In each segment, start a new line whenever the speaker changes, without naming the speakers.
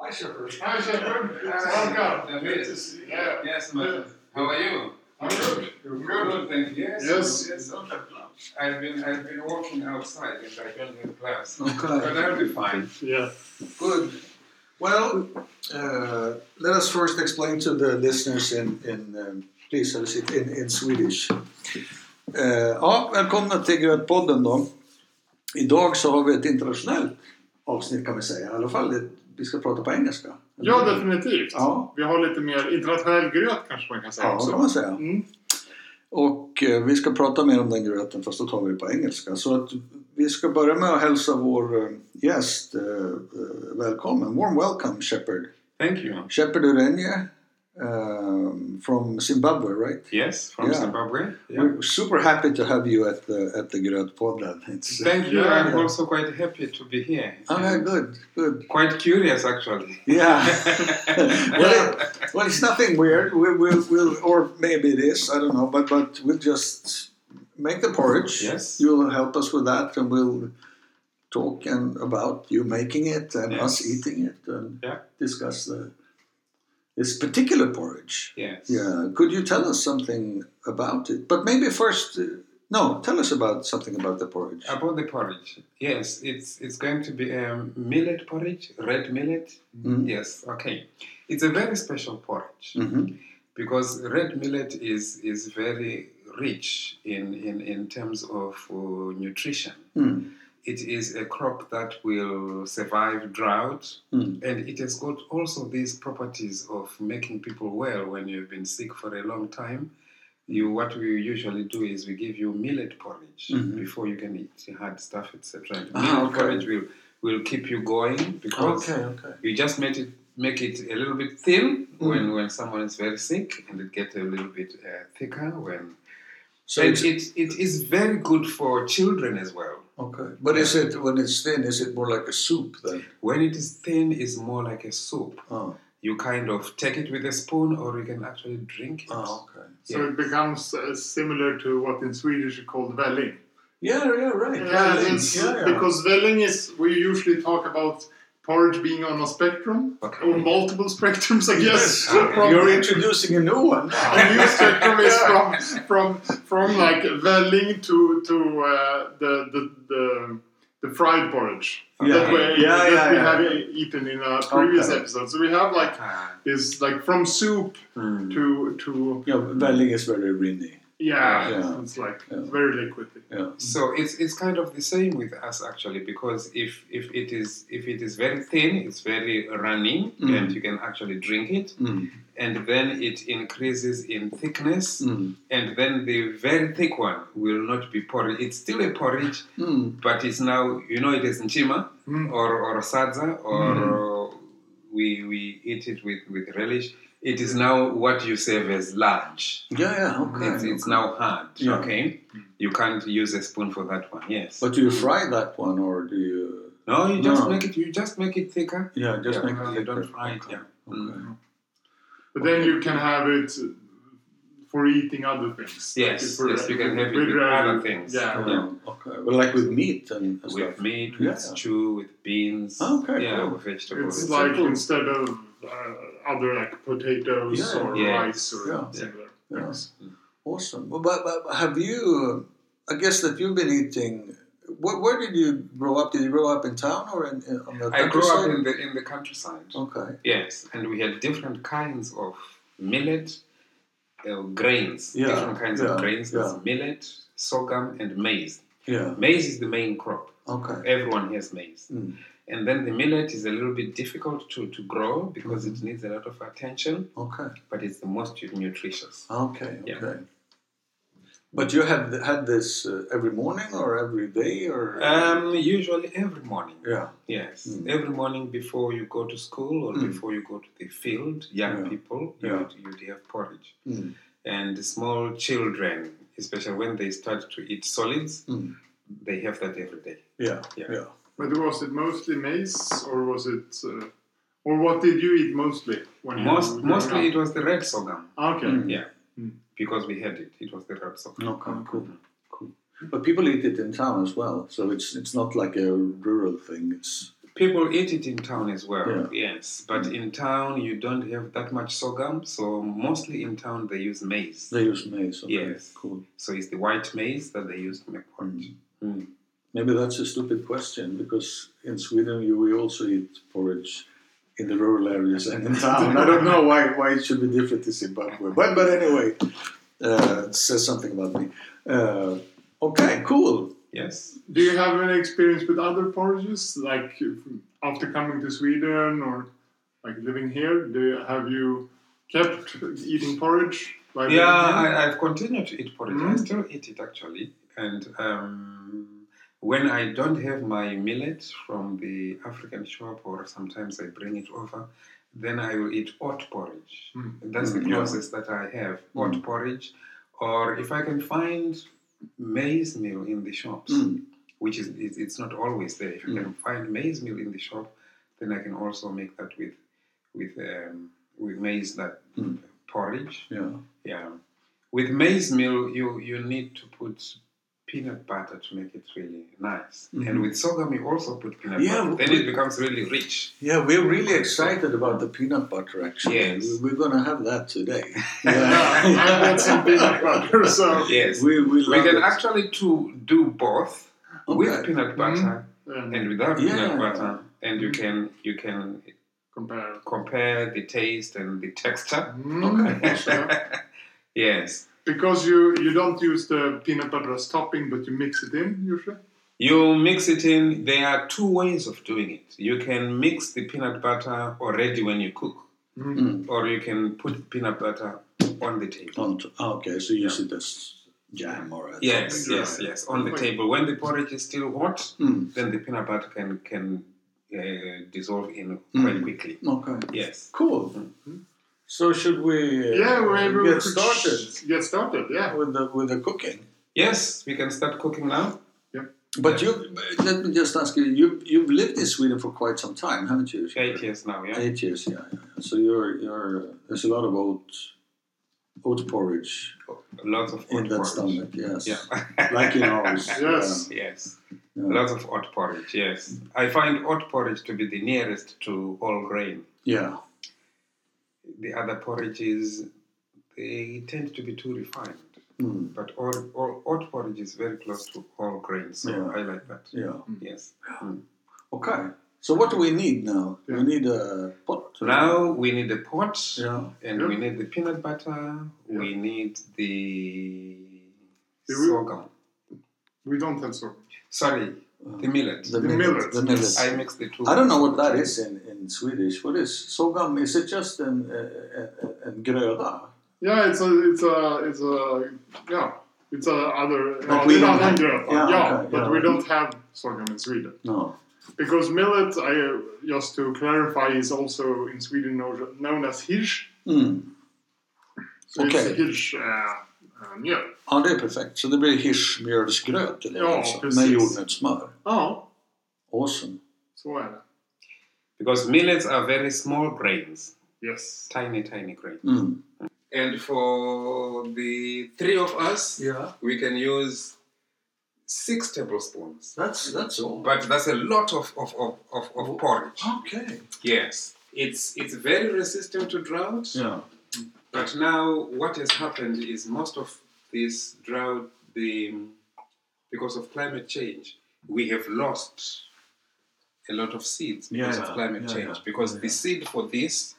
Hi, Shepard.
Hi, Shepard.
eh,
How's it going?
That
Good to
is.
see you. Yeah.
Yes, my friend. How are you?
I'm good.
You're good, thank you. Yes.
Yes.
Yes. Okay. I've been I've been walking outside and I don't have class, but
Okay,
I'll be fine.
Yeah.
good. Well, uh, let us first explain to the listeners in, in um, please solicit, in, in Swedish. Eh, ja, välkomna till Grötpodden då. Idag så har vi ett internationellt avsnitt kan vi säga, i alla fall ett, vi ska prata på engelska.
ja, definitivt.
Ja.
Vi har lite mer internationell gröt kanske man kan säga
Ja, det kan
också.
man säga.
Mm.
Och eh, vi ska prata mer om den gröten fast då tar vi det på engelska. Så att vi ska börja med att hälsa vår eh, gäst eh, eh, välkommen. Warm welcome Shepard.
Thank you.
Shepard Urenye um, from Zimbabwe, right?
Yes, from
Yeah.
Zimbabwe.
We're super happy to have you at the at the Grötpodden. It's
Thank you.
Yeah.
I'm
Yeah.
also quite happy to be here.
okay, good, good.
Quite curious actually.
Yeah. well, it- well, it's nothing weird. We, we'll, we'll, or maybe it is. I don't know. But but we'll just make the porridge.
Yes.
You'll help us with that, and we'll talk and about you making it and us
Yes.
eating it and
Yeah.
discuss the this particular porridge.
Yes.
Yeah, could you tell us something about it? But maybe first, uh, no, tell us about something about the porridge.
About the porridge, yes, it's it's going to be um, millet porridge, red millet.
Mm.
Yes, okay. It's a very special porridge
Mhm.
because red millet is is very rich in in, in terms of uh, nutrition.
Mm.
It is a crop that will survive drought,
Mm.
and it has got also these properties of making people well when you've been sick for a long time. You, what we usually do is we give you millet porridge
Mhm.
before you can eat hard stuff, etc. Millet
Ah, okay.
porridge will, will keep you going because
Okay, okay.
you just make it make it a little bit thin
Mm-hmm.
when, when someone is very sick, and it gets a little bit uh, thicker when.
So
and
it's,
it, it is very good for children as well.
okay. But is it when it's thin? Is it more like a soup then?
When it is thin, it's more like a soup.
Oh,
You kind of take it with a spoon, or you can actually drink it.
oh okay.
So it becomes uh, similar to what in Swedish is called välling.
Yeah, yeah, right.
Yeah,
yeah,
it's,
yeah.
because Velling is we usually talk about porridge being on a spectrum
Okay.
or multiple spectrums, I guess.
Yes,
Okay.
From-
you're introducing a new one.
a new spectrum is from from from like Velling to to uh, the, the the the fried porridge
Yeah.
that, we,
Yeah,
that
yeah,
we
yeah.
have e- eaten in a previous
Okay.
episode. So we have like
Ah,
this like from soup
Hmm.
mm.
to to
Yeah, Velling is very rinny.
yeah,
Yeah.
it's like
Yeah.
very liquidy.
Yeah.
So it's it's kind of the same with us actually because if if it is if it is very thin, it's very runny,
Mm.
and you can actually drink it,
Mm.
and then it increases in thickness,
Mm.
and then the very thick one will not be porridge. It's still a porridge,
Mm.
but it's now you know it is nchima
Hmm.
Mm.
or or sadza or we we eat it with with relish. It is now what you serve as large.
Yeah, yeah, okay.
It's, it's now hard.
Yeah.
Okay, you can't use a spoon for that one. Yes.
But do you fry that one or do you?
no, you just
No.
make it. You just make it thicker.
Yeah, just
Yeah,
make
no,
it
you don't
thicker.
fry it,
Okay.
yeah.
Okay.
Mm.
But then you can have it for eating other things.
Yes,
Like
yes,
for-
you can have it
with,
with
uh,
other things.
Yeah.
Yeah, Okay. Well, like with meat and and
with
stuff.
meat, with
Yeah.
stew, with beans.
Ah, okay,
yeah,
cool.
with vegetables.
It's
It's
like
simple.
instead of uh, other like potatoes
Yeah,
or
yeah.
rice or
Yeah.
similar
Yeah.
things.
Awesome. Well, But, but have you? I guess that you've been eating. Where, where did you grow up? Did you grow up in town or in, in on the
I grew up
countryside?
in the in the countryside.
Okay.
Yes, and we had different kinds of millet uh, grains.
Yeah,
Different kinds
yeah,
of grains. There's
yeah.
millet, sorghum, and maize.
Yeah.
Maize is the main crop.
Okay.
Everyone has maize.
Mm.
And then the millet is a little bit difficult to, to grow because it
Mm-hmm.
needs a lot of attention,
Okay.
but it's the most nutritious.
Okay.
Yeah.
Okay. But you have th- had this uh, every morning or every day or?
Um, usually every morning.
yeah.
Yes,
Mm.
every morning before you go to school or
Mm.
before you go to the field, young
Yeah.
people,
Yeah.
you'd, you'd have porridge.
Mm.
And small children, especially when they start to eat solids,
Mm.
they have that every day.
Yeah.
Yeah.
Yeah.
But was it mostly maize or was it uh, or what did you eat mostly when
Most,
you
mostly it was the red sorghum
was Ah, okay.
Mm.
Yeah.
Mm.
because we had it. It was the red sorghum.
Okay. Cool. Cool. But people eat it in town as well, so it's it's not like a rural thing. It's
People eat it in town as well,
Yeah.
yes. But in town, you don't have that much sorghum, so mostly in town they use maize.
They use maize. Okay.
Yes.
Cool.
So it's the white maize that they use to make porridge. Mm.
Maybe that's a stupid question because in Sweden you, we also eat porridge in the rural areas and in town. I don't know why, why it should be different in Zimbabwe. But, but anyway, uh, it says something about me. Uh, okay, cool.
Yes.
Do you have any experience with other porridges, like after coming to Sweden or like living here? Do you, have you kept eating porridge? By
Yeah,
living
I, I've continued to eat porridge. I
Mm.
still eat it actually. And um, when I don't have my millet from the African shop, or sometimes I bring it over, then I will eat oat porridge.
Mm.
That's the
Mm, yeah. Mm.
closest that I have oat porridge. Or if I can find maize meal in the shops,
Mm.
which is it's, it's not always there. If you can find maize meal in the shop, then I can also make that with with um, with maize that
Mm.
porridge.
Yeah.
Yeah, with maize meal, you you need to put peanut butter to make it really nice.
Mhm.
And with sorghum, you also put peanut
Yeah,
butter. Then
we-
it becomes really rich.
Yeah, we're really excited about the peanut butter actually.
Yes.
We- We're going to have that today.
Yeah, I got some peanut butter, so
Yes, we,
We, we, love
can
it.
actually to do both with
Okay. Mm-hmm.
peanut butter
yeah,
and without
Yeah. Mm-hmm.
peanut butter, and you can you can
compare.
compare the taste and the texture.
Mm, so-
Yes.
because you you don't use the peanut butter as topping, but you mix it in usually.
You mix it in. There are two ways of doing it. You can mix the peanut butter already when you cook,
Mm.
or you can put peanut butter on the table.
On t- okay, so use it as jam or as
Yes,
something.
yes, yes, on the
Wait.
table. When the porridge is still hot,
Mm,
then the peanut butter can can uh, dissolve in
Mm.
quite quickly.
okay.
Yes.
Cool. So should we? uh,
Yeah, maybe we
get
could
started
Get started, yeah.
with the with the cooking.
Yes, we can start cooking now.
But you, let me just ask you. You you've lived in Sweden for quite some time, haven't you?
Eight years now. Yeah.
Eight years, yeah. yeah. yeah. So you're you're there's a lot of oat oat porridge
Lots of
in
oat
that
porridge.
stomach. Yes,
Yeah.
like in ours.
Yes.
yes.
Yeah, yeah.
Lots of oat porridge, yes. I find oat porridge to be the nearest to whole grain.
Yeah.
The other porridges, they tend to be too refined.
Mm,
But all, all, oat porridge is very close to whole grain, so
Yeah. Mm.
I like that.
yeah.
Yes.
Okay. So what do we need now?
Yeah.
We need a pot.
Now we need a pot,
Yeah.
and we need the peanut butter,
Yeah.
we need the
Do we-
sorghum.
We don't have so.
Sorry, the millet.
Uh, The,
The
millet.
millet.
The millet.
I mix the two.
I don't know what that is in, in Swedish. What is sogam? Is it just an, uh, an gröda?
Yeah, it's a it's a it's a yeah. It's a other
But
yeah,
we
it's
don't
another
have-
gröt.
yeah,
yeah,
okay,
but
yeah.
we don't have sorghum in Sweden.
No.
Because millet, I uh, just to clarify, is also in Sweden known, known as hirsch.
Mm.
So
Okay.
it's hirsch uh, uh, mjöl.
Ja, det är perfekt. Så det blir hirschmjölsgröt till det
Ja,
också, med
precis.
jordnötssmör.
Ja,
Awesome.
så är det.
Because millets are very small grains,
Yes.
tiny, tiny grains.
Mm.
And for the three of us,
Yeah,
we can use six tablespoons.
that's, that's all.
But that's a lot of, of, of, of, of porridge.
Okay.
Yes. It's, it's very resistant to drought.
Yeah.
But now what has happened is most of this drought, the, because of climate change, we have lost a lot of seeds because
Yeah,
of climate
yeah,
change.
yeah,
because
yeah.
the seed for this,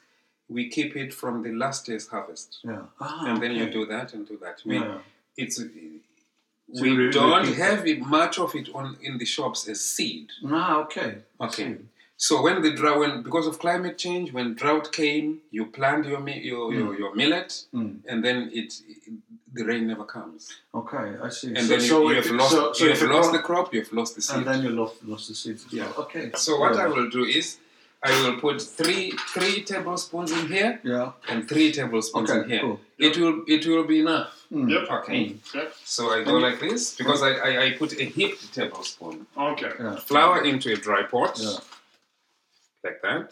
we keep it from the last year's harvest.
Yeah. Ah,
And then you
okay.
do that and do that. We,
Yeah.
it's
you
we
really
don't
keep-
have it, much of it on in the shops as seed.
Ah, okay.
Okay. So when the drought, when because of climate change, when drought came, you plant your mi- your, your, your millet,
Mm.
and then it, the rain never comes,
Okay, I see.
and then you, you
if-
have lost
so- so
you
if
have
it
lost
go-
the crop, you have lost the seed.
And then you lost, lost the seeds as
Yeah.
well. Okay.
so what
Yeah.
I will do is, I will put three three tablespoons in here
Yeah.
and three tablespoons in
Okay,
here.
cool.
It will it will be enough.
Mm.
Yep.
Okay.
Yep.
So I go like this because I, I, I put a heaped tablespoon
Okay.
Yeah.
flour into a dry pot
Yeah.
like that.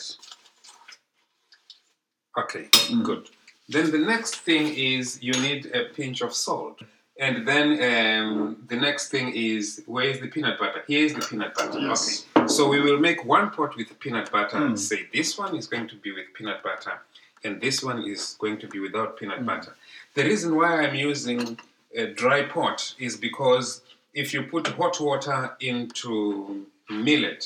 Okay, good. Then the next thing is you need a pinch of salt. And then um, the next thing is where is the peanut butter? Here is the peanut butter.
Yes.
Okay. So we will make one pot with peanut butter and say this one is going to be with peanut butter and this one is going to be without peanut butter. The reason why I'm using a dry pot is because if you put hot water into millet,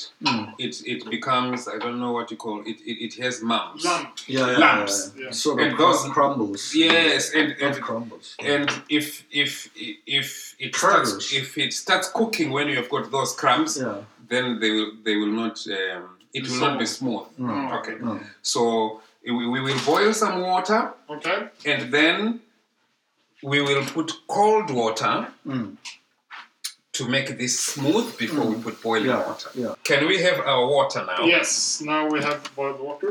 it, it becomes, I don't know what you call it, it, it has mumps.
Lump.
yeah, yeah,
lumps.
yeah.
Yeah.
Sort of
And
crum-
those-
crumbles.
Yes, and,
Not
and
crumbles.
and if if if it
Crumbs.
starts if it starts cooking when you've got those crumbs,
Yeah.
then they will they will not um, it will not be smooth.
Mm.
Okay,
Mm.
so we, we will boil some water
Okay.
and then we will put cold water
Mm.
to make this smooth before we put boiling
Yeah,
water.
yeah.
Can we have our water
Oh.
now?
Yes. Now we have boiled water.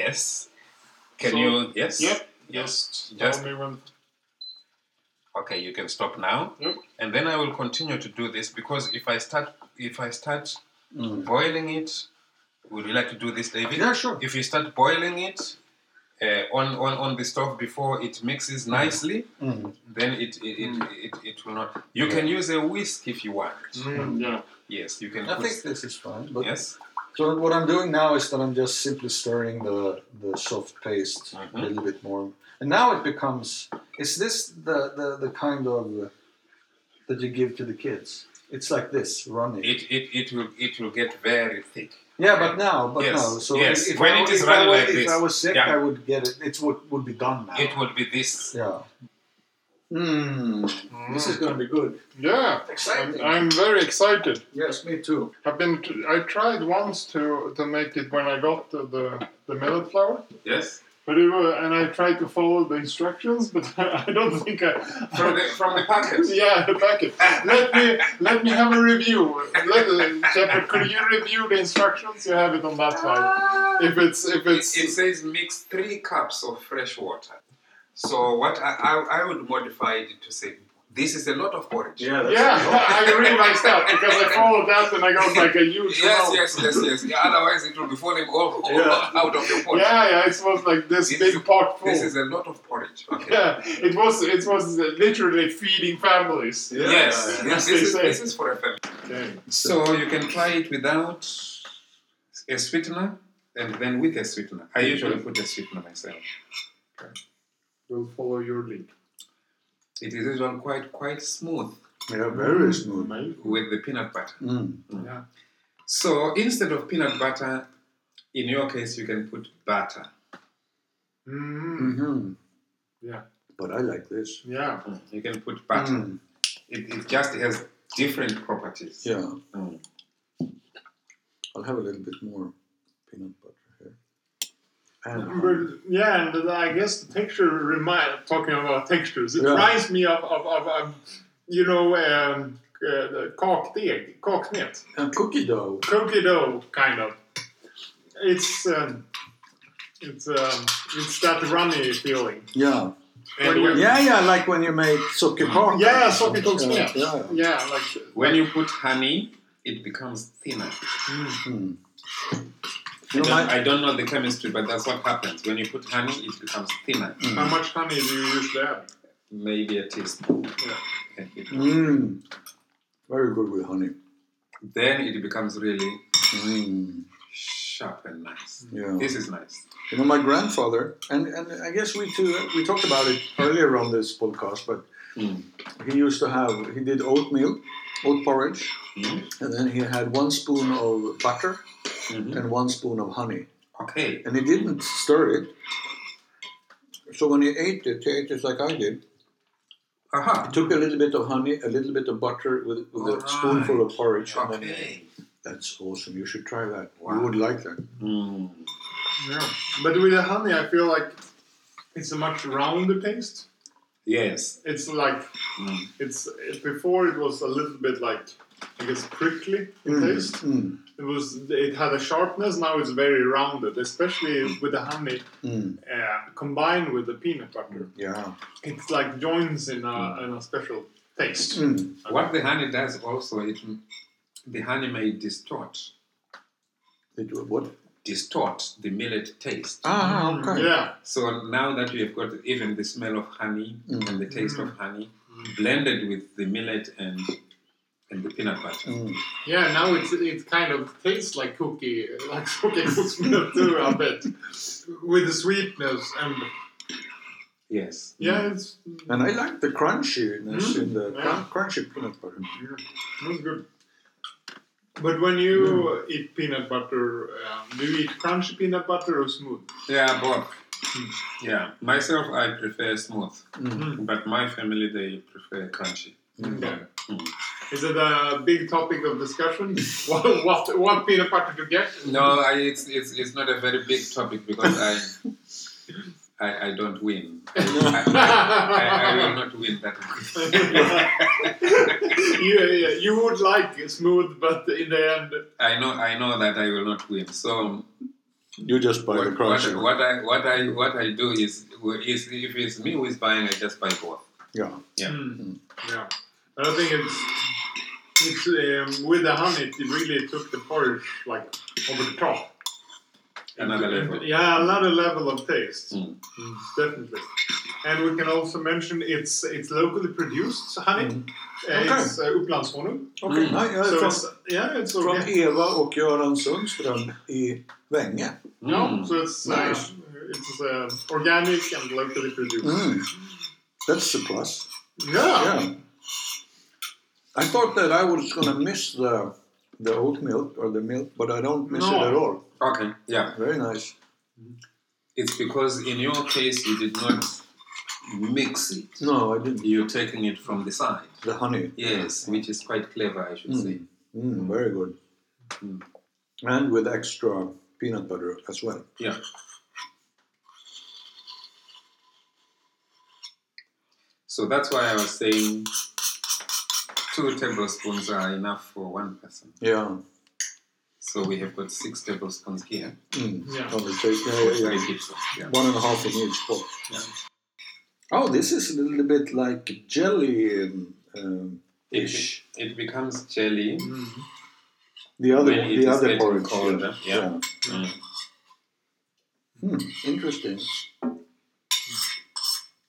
Yes. Can
So-
you? Yes.
Yep. Yes.
Just-
Tell me when.
okay you can stop now
Yep.
and then i will continue to do this because if i start if i start boiling it would you like to do this david
Mm. Yeah, sure.
if you start boiling it uh, on, on on the stove before it mixes nicely
Mm.
then it it, it, it it will not you can use a whisk if you want
mm, Yeah.
yes you can
Mm. I
put-
think this is fine. But
yes
So what I'm doing now is that I'm just simply stirring the, the soft paste a
Mhm.
little bit more, and now it becomes. Is this the, the, the kind of uh, that you give to the kids? It's like this, runny.
it, it it will it will get very thick
yeah, but now, but
Yes,
now. So
yes.
if,
When
I,
it is
if,
runny
I, were-
like
if
this,
I was sick,
yeah.
I would get it. It's what would be done now.
it will be this
yeah. Mm, This is going to be good.
Yeah. I'm,
Exciting.
I'm very excited.
yes, me too.
I've been. T- I tried once to to make it when I got the the, the millet flour,
yes
but it was, and I tried to follow the instructions, but I don't think I.
from the from the packet
Yeah, the packet. Let me let me have a review. Let, Shepard, could you review the instructions? You have it on that file. If it's if
It,
it's
it says mix three cups of fresh water. So what I, I, I would modify it to say this is a lot of porridge.
that's
yeah,
a lot.
I realized that because I followed that and I got like a huge
Yes,
amount.
yes, yes, yes. Yeah, otherwise it will be falling all, all
Yeah.
out of your pot.
Yeah, yeah, it was like this
This
big
is-
pot full.
This is a lot of porridge. Okay.
yeah, it was it was literally feeding families.
Yeah.
Yes,
Yeah.
yes,
Yes,
this is,
they
this
say.
is for a family.
Okay.
So you can try it without a sweetener and then with a sweetener. I usually put a sweetener myself.
We'll follow your lead.
It is usually quite quite smooth
Yeah, very smooth.
Amazing.
with the peanut butter.
Mm.
Yeah.
So instead of peanut butter, in your case you can put butter.
Mm,
hmm
Yeah.
But I like this.
yeah.
You can put butter.
Mm.
It, it just has different properties.
Yeah.
Mm.
I'll have a little bit more peanut butter here. Um, And
But, yeah, and I guess the texture remind talking about textures. It
Yeah.
reminds me of, of, of, of you know um, uh, the kakdeg, kaknet,
and cookie dough.
cookie dough kind of. It's um, it's um, it's that runny feeling.
Yeah.
And
What do
when,
you-
Yeah, yeah, like when you make sockerpaka.
Yeah, sockerpaka.
Yeah, yeah.
Yeah, like
when you put honey, it becomes thinner.
Mm.
I
You know,
don't,
my,
I don't know the chemistry, but that's what happens. When you put honey, it becomes thinner.
how much honey do you usually add?
Maybe a teaspoon.
Yeah.
And it-
mm. Very good with honey.
Then it becomes really
Mm.
sharp and nice.
Yeah.
This is nice.
You know, my grandfather, and, and I guess we too, we talked about it earlier on this podcast, but
Mm.
he used to have, he did oatmeal, oat porridge,
Mm.
and then he had one spoon of butter
Mhm.
and one spoon of honey.
Okay.
and he didn't stir it. So when he ate it, he ate it like I did.
Aha.
He took a little bit of honey, a little bit of butter with, with a
Alright.
spoonful of porridge. and then he ate.
Okay.
That's awesome. You should try that.
Wow.
You would like that.
Mm.
Yeah, but with the honey, I feel like it's a much rounder taste.
Yes.
It's like
Mm.
it's it, before it was a little bit like I guess prickly in taste.
Mm,
It was it had a sharpness. Now it's very rounded, especially with the honey
mm,
uh, combined with the peanut butter.
yeah.
It's like joins in a, in a special taste.
Mm,
What the honey does also, it the honey may distort
it, what?
distort the millet taste.
Ah,
Mm,
okay.
Yeah,
So now that we have got even the smell of honey
Mm.
Mm.
and the taste of honey blended with the millet and
and the peanut butter.
Mm.
Yeah, now it's it kind of tastes like cookie, like cookie smell too. I bet with the sweetness and
Yes.
yeah, it's mm,
And I like the crunchiness in the
Mm-hmm. Yeah.
crun- crunchy peanut butter.
it's good. But when you eat peanut butter, um, do you eat crunchy peanut butter or smooth?
Yeah, both.
Mm.
Yeah, myself I prefer smooth,
Mm-hmm.
Mm.
but my family they prefer crunchy.
Okay.
Mm.
Is it a big topic of discussion? what, what what peanut butter to get?
No, I, it's, it's it's not a very big topic because I I, I don't win. I, I, I, I will not win that.
you, you would like smooth, but in the end,
I know I know that I will not win. So
You just buy the
what, what,
crunchy.
what I what I what I do is is if it's me who is buying, I just buy both.
Yeah.
Yeah.
Mm. Yeah. But I think it's it's um, with the honey. It really took the porridge like over the top.
Another
It- it-
level.
Yeah, another level of taste.
Mm.
Mm, definitely. And we can also mention it's it's locally produced honey. Uh,
Mm. Okay. Oh,
It's uh, Upplandshonung.
Okej,
Mm.
nej, jag är
So
från,
it's, yeah, it's
från
organic.
uh, Eva och Göran Sundström i Vänge.
Hmm.
No, so it's uh,
Nice.
it's uh, organic and locally produced.
Mm. That's a plus.
Yeah.
Yeah. I thought that I was gonna miss the the oat milk or the milk, but I don't miss
No.
it at all.
Okay. Yeah.
Very nice.
It's because in your case you did not mix it.
No, I didn't.
You're taking it from the side.
The honey.
Yes, which is quite clever, I should
Mm.
say.
Mm, very good.
Mm.
And with extra peanut butter as well.
Yeah. So that's why I was saying two tablespoons are enough for one person.
Yeah.
So we have got six tablespoons here.
Mm.
Yeah.
On the plate. Yeah, yeah,
Three
yeah.
pieces, yeah.
One and a half in each pot.
Yeah.
Oh, this is a little bit like jelly um, um,
It,
ish.
it becomes jelly.
Mm.
The other,
When it
the
is
other
getting
porridge.
colder, yeah. Mm.
Hmm, interesting.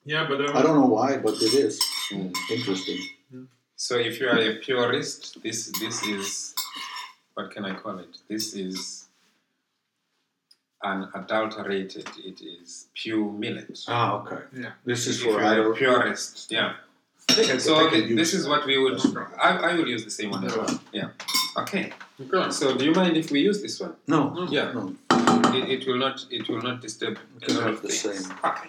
Yeah, but
I
um,
don't know why, but it is
Mm.
interesting.
So if you are a purist, this this is what can I call it? This is unadulterated. It is pure millet.
Ah, okay.
Yeah.
This is
If you
for
are a
adult.
purist, yeah. So thi- this is what we would. I, I will use the same one as well. Yeah. Okay.
okay.
So do you mind if we use this one?
No.
Yeah.
No.
It, it will not. It will not disturb a
can
lot
have
of
the
things.
same.
Okay.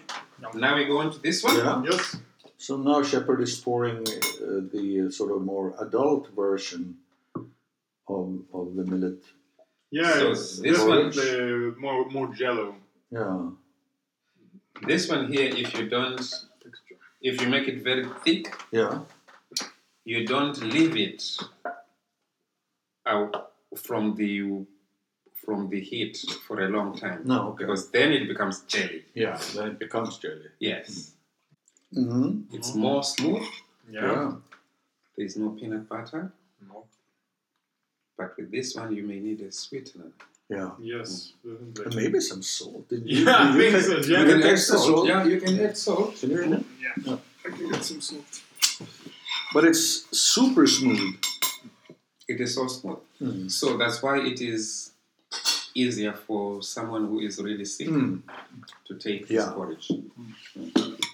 Now we go on to this one.
Yeah.
Yes.
So now Shepard is pouring uh, the uh, sort of more adult version of, of the millet.
Yeah,
So
it's
this
one-
definitely more more jello
Yeah.
This one here, if you don't,
texture.
if you make it very thick,
Yeah.
you don't leave it out from the from the heat for a long time
No. Okay.
because then it becomes jelly.
Yeah. Then it becomes jelly.
Yes,
hmm
it's more smooth.
Yeah.
There is no peanut butter,
No.
but with this one you may need a sweetener.
Yeah.
Yes. definitely.
And maybe some salt. Did you,
Yeah, I
you
think so.
can, you
Yeah.
can taste the salt.
Yeah, you can add salt.
Can you read it?
I can get some salt.
But it's super smooth.
It is so smooth,
Mm.
so that's why it is easier for someone who is really sick
Mm.
to take this
Yeah.
porridge.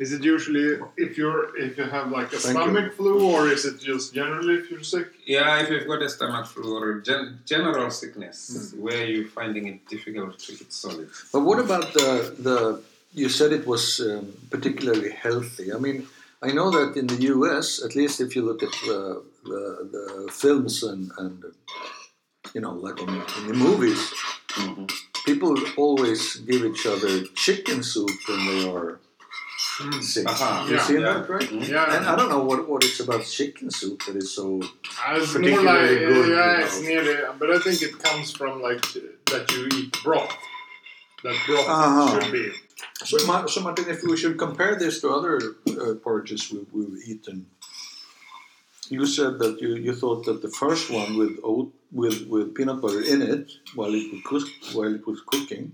Is it usually if you're if you have like a
Thank
stomach flu or is it just generally if you're sick?
Yeah, if you've got a stomach flu or gen- general sickness where you're finding it difficult to eat solid.
But what about the the? You said it was um, particularly healthy. I mean, I know that in the U.S., at least if you look at the the, the films and and you know, like on, in the movies, people always give each other chicken soup when they are
Mm.
sick.
Aha,
You
yeah,
seen
yeah.
that, right? And uh,
Yeah,
I don't know what, what it's about chicken soup that is so.
Uh, it's more
particularly
like
good, you
yeah,
know.
it's nearly. But I think it comes from like that you eat broth. That broth
Uh-huh.
should be.
So, Ma- so Martin, if we should compare this to other uh, porridges we, we've eaten, you said that you, you thought that the first one with oat with, with peanut butter in it while it was cook, while it was cooking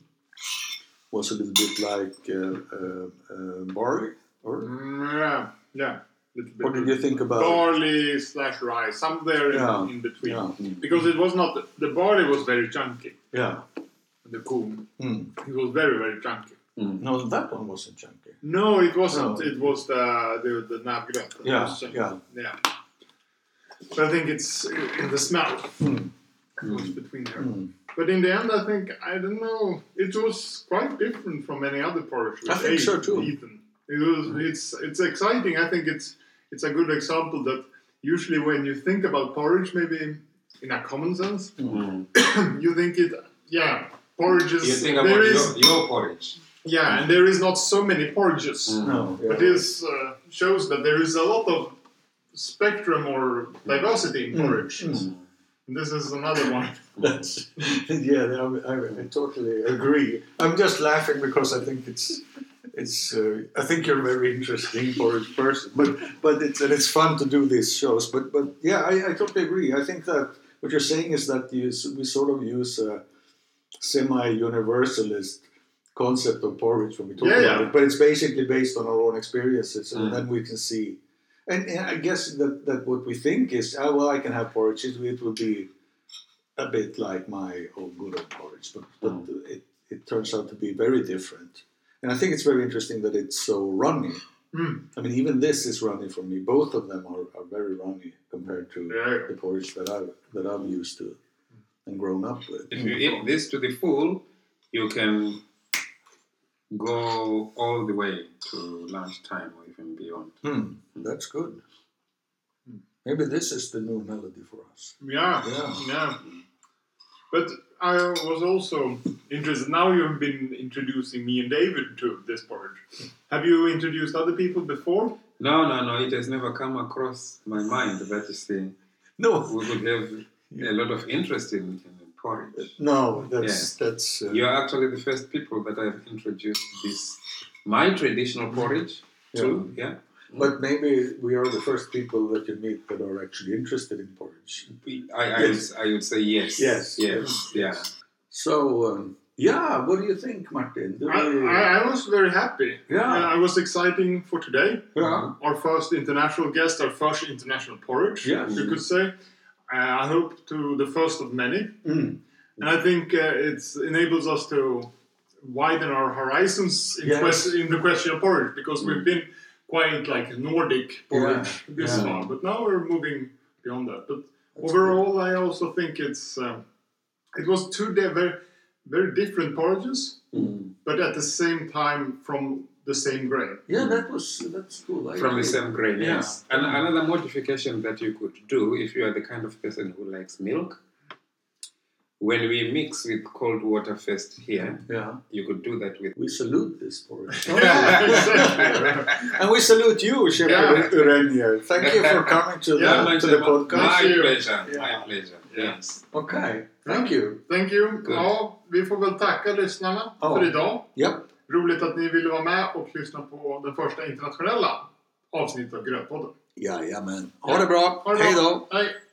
was a little bit like uh, uh, uh, barley or
Mm, yeah, yeah, little bit
What did you think about it?
barley slash rice, somewhere
Yeah,
in, in between.
Yeah,
Because it was not the barley was very chunky.
yeah.
The coon,
Mm.
it was very very chunky.
No, that one wasn't chunky.
No, it wasn't.
No.
It was the the, the navgröt.
Oh. Yeah,
It was, uh,
yeah.
yeah. So I think it's in the smell
Mm.
Hmm.
was between her.
Mm.
But in the end, I think I don't know. It was quite different from any other porridge.
I
we've
think so,
ate,
too. Mm.
Eaten. It was. It's it's exciting. I think it's it's a good example that usually when you think about porridge, maybe in a common sense, you think it. Yeah, porridges.
You think about
there is.
your, your porridge.
Yeah, and there is not so many porridges.
No.
But
yeah.
this uh, shows that there is a lot of spectrum or diversity in
Mm,
porridge. This is another one.
That's yeah. I, I, I totally agree. I'm just laughing because I think it's it's. Uh, I think you're a very interesting porridge person, but but it's and it's fun to do these shows. But but yeah, I, I totally agree. I think that what you're saying is that you, s- we sort of use a semi-universalist concept of porridge when we talk
Yeah,
about
yeah.
it, but it's basically based on our own experiences, and
Mm.
then we can see. And, and I guess that, that what we think is, ah, well, I can have porridge. It, it will be a bit like my old good old porridge, but, but it, it turns out to be very different. And I think it's very interesting that it's so runny.
Mm.
I mean, even this is runny for me. Both of them are, are very runny compared to
Yeah.
the porridge that I've, that I'm used to and grown up with.
If you eat this to the full, you can go all the way to lunchtime or even beyond.
Hmm, that's good. Maybe this is the new melody for us.
Yeah,
Yeah.
yeah. But I was also interested. Now you've been introducing me and David to this porridge. Have you introduced other people before?
No, no, no, it has never come across my mind that you see
No,
we would have a lot of interest in, in porridge.
no, that's that's. Uh,
You are actually the first people that I've introduced this, my traditional porridge to, yeah.
But maybe we are the first people that you meet that are actually interested in porridge.
I, I,
Yes.
would, I would say yes.
Yes.
Yes, yeah.
So, um, yeah, what do you think, Martin? Do
I,
we-
I, I was very happy.
Yeah.
I was exciting for today.
yeah,
Our first international guest, our first international porridge,
Yes.
you could say. Uh, I hope to the first of many.
Mm.
And I think uh, it enables us to widen our horizons in,
Yes.
quest- in the question of porridge because we've been quite like Nordic porridge this
yeah.
far, but now we're moving beyond that. But overall, I also think it's uh, it was two de- very very different porridges, but at the same time from the same grain.
yeah, that was that's cool. I
From the
agree.
same grain,
Yeah.
yes. And another modification that you could do if you are the kind of person who likes milk, when we mix with cold water first here,
Yeah,
you could do that with.
we salute this porridge,
Exactly.
and we salute you, Chef
Yeah.
Renier. Thank you for coming to the
Yeah,
my,
to the
my
podcast.
Thank you.
pleasure,
Yeah.
my pleasure.
Yeah.
Yes.
Okay, thank you.
Thank you.
Good.
Ja, vi får väl tacka lyssnarna
Ja.
för idag.
Yep.
Roligt att ni ville vara med och lyssna på den första internationella avsnittet av Grötpodden.
Jajamän. Ha det bra.
Ha det bra.
Hej då.
Hej!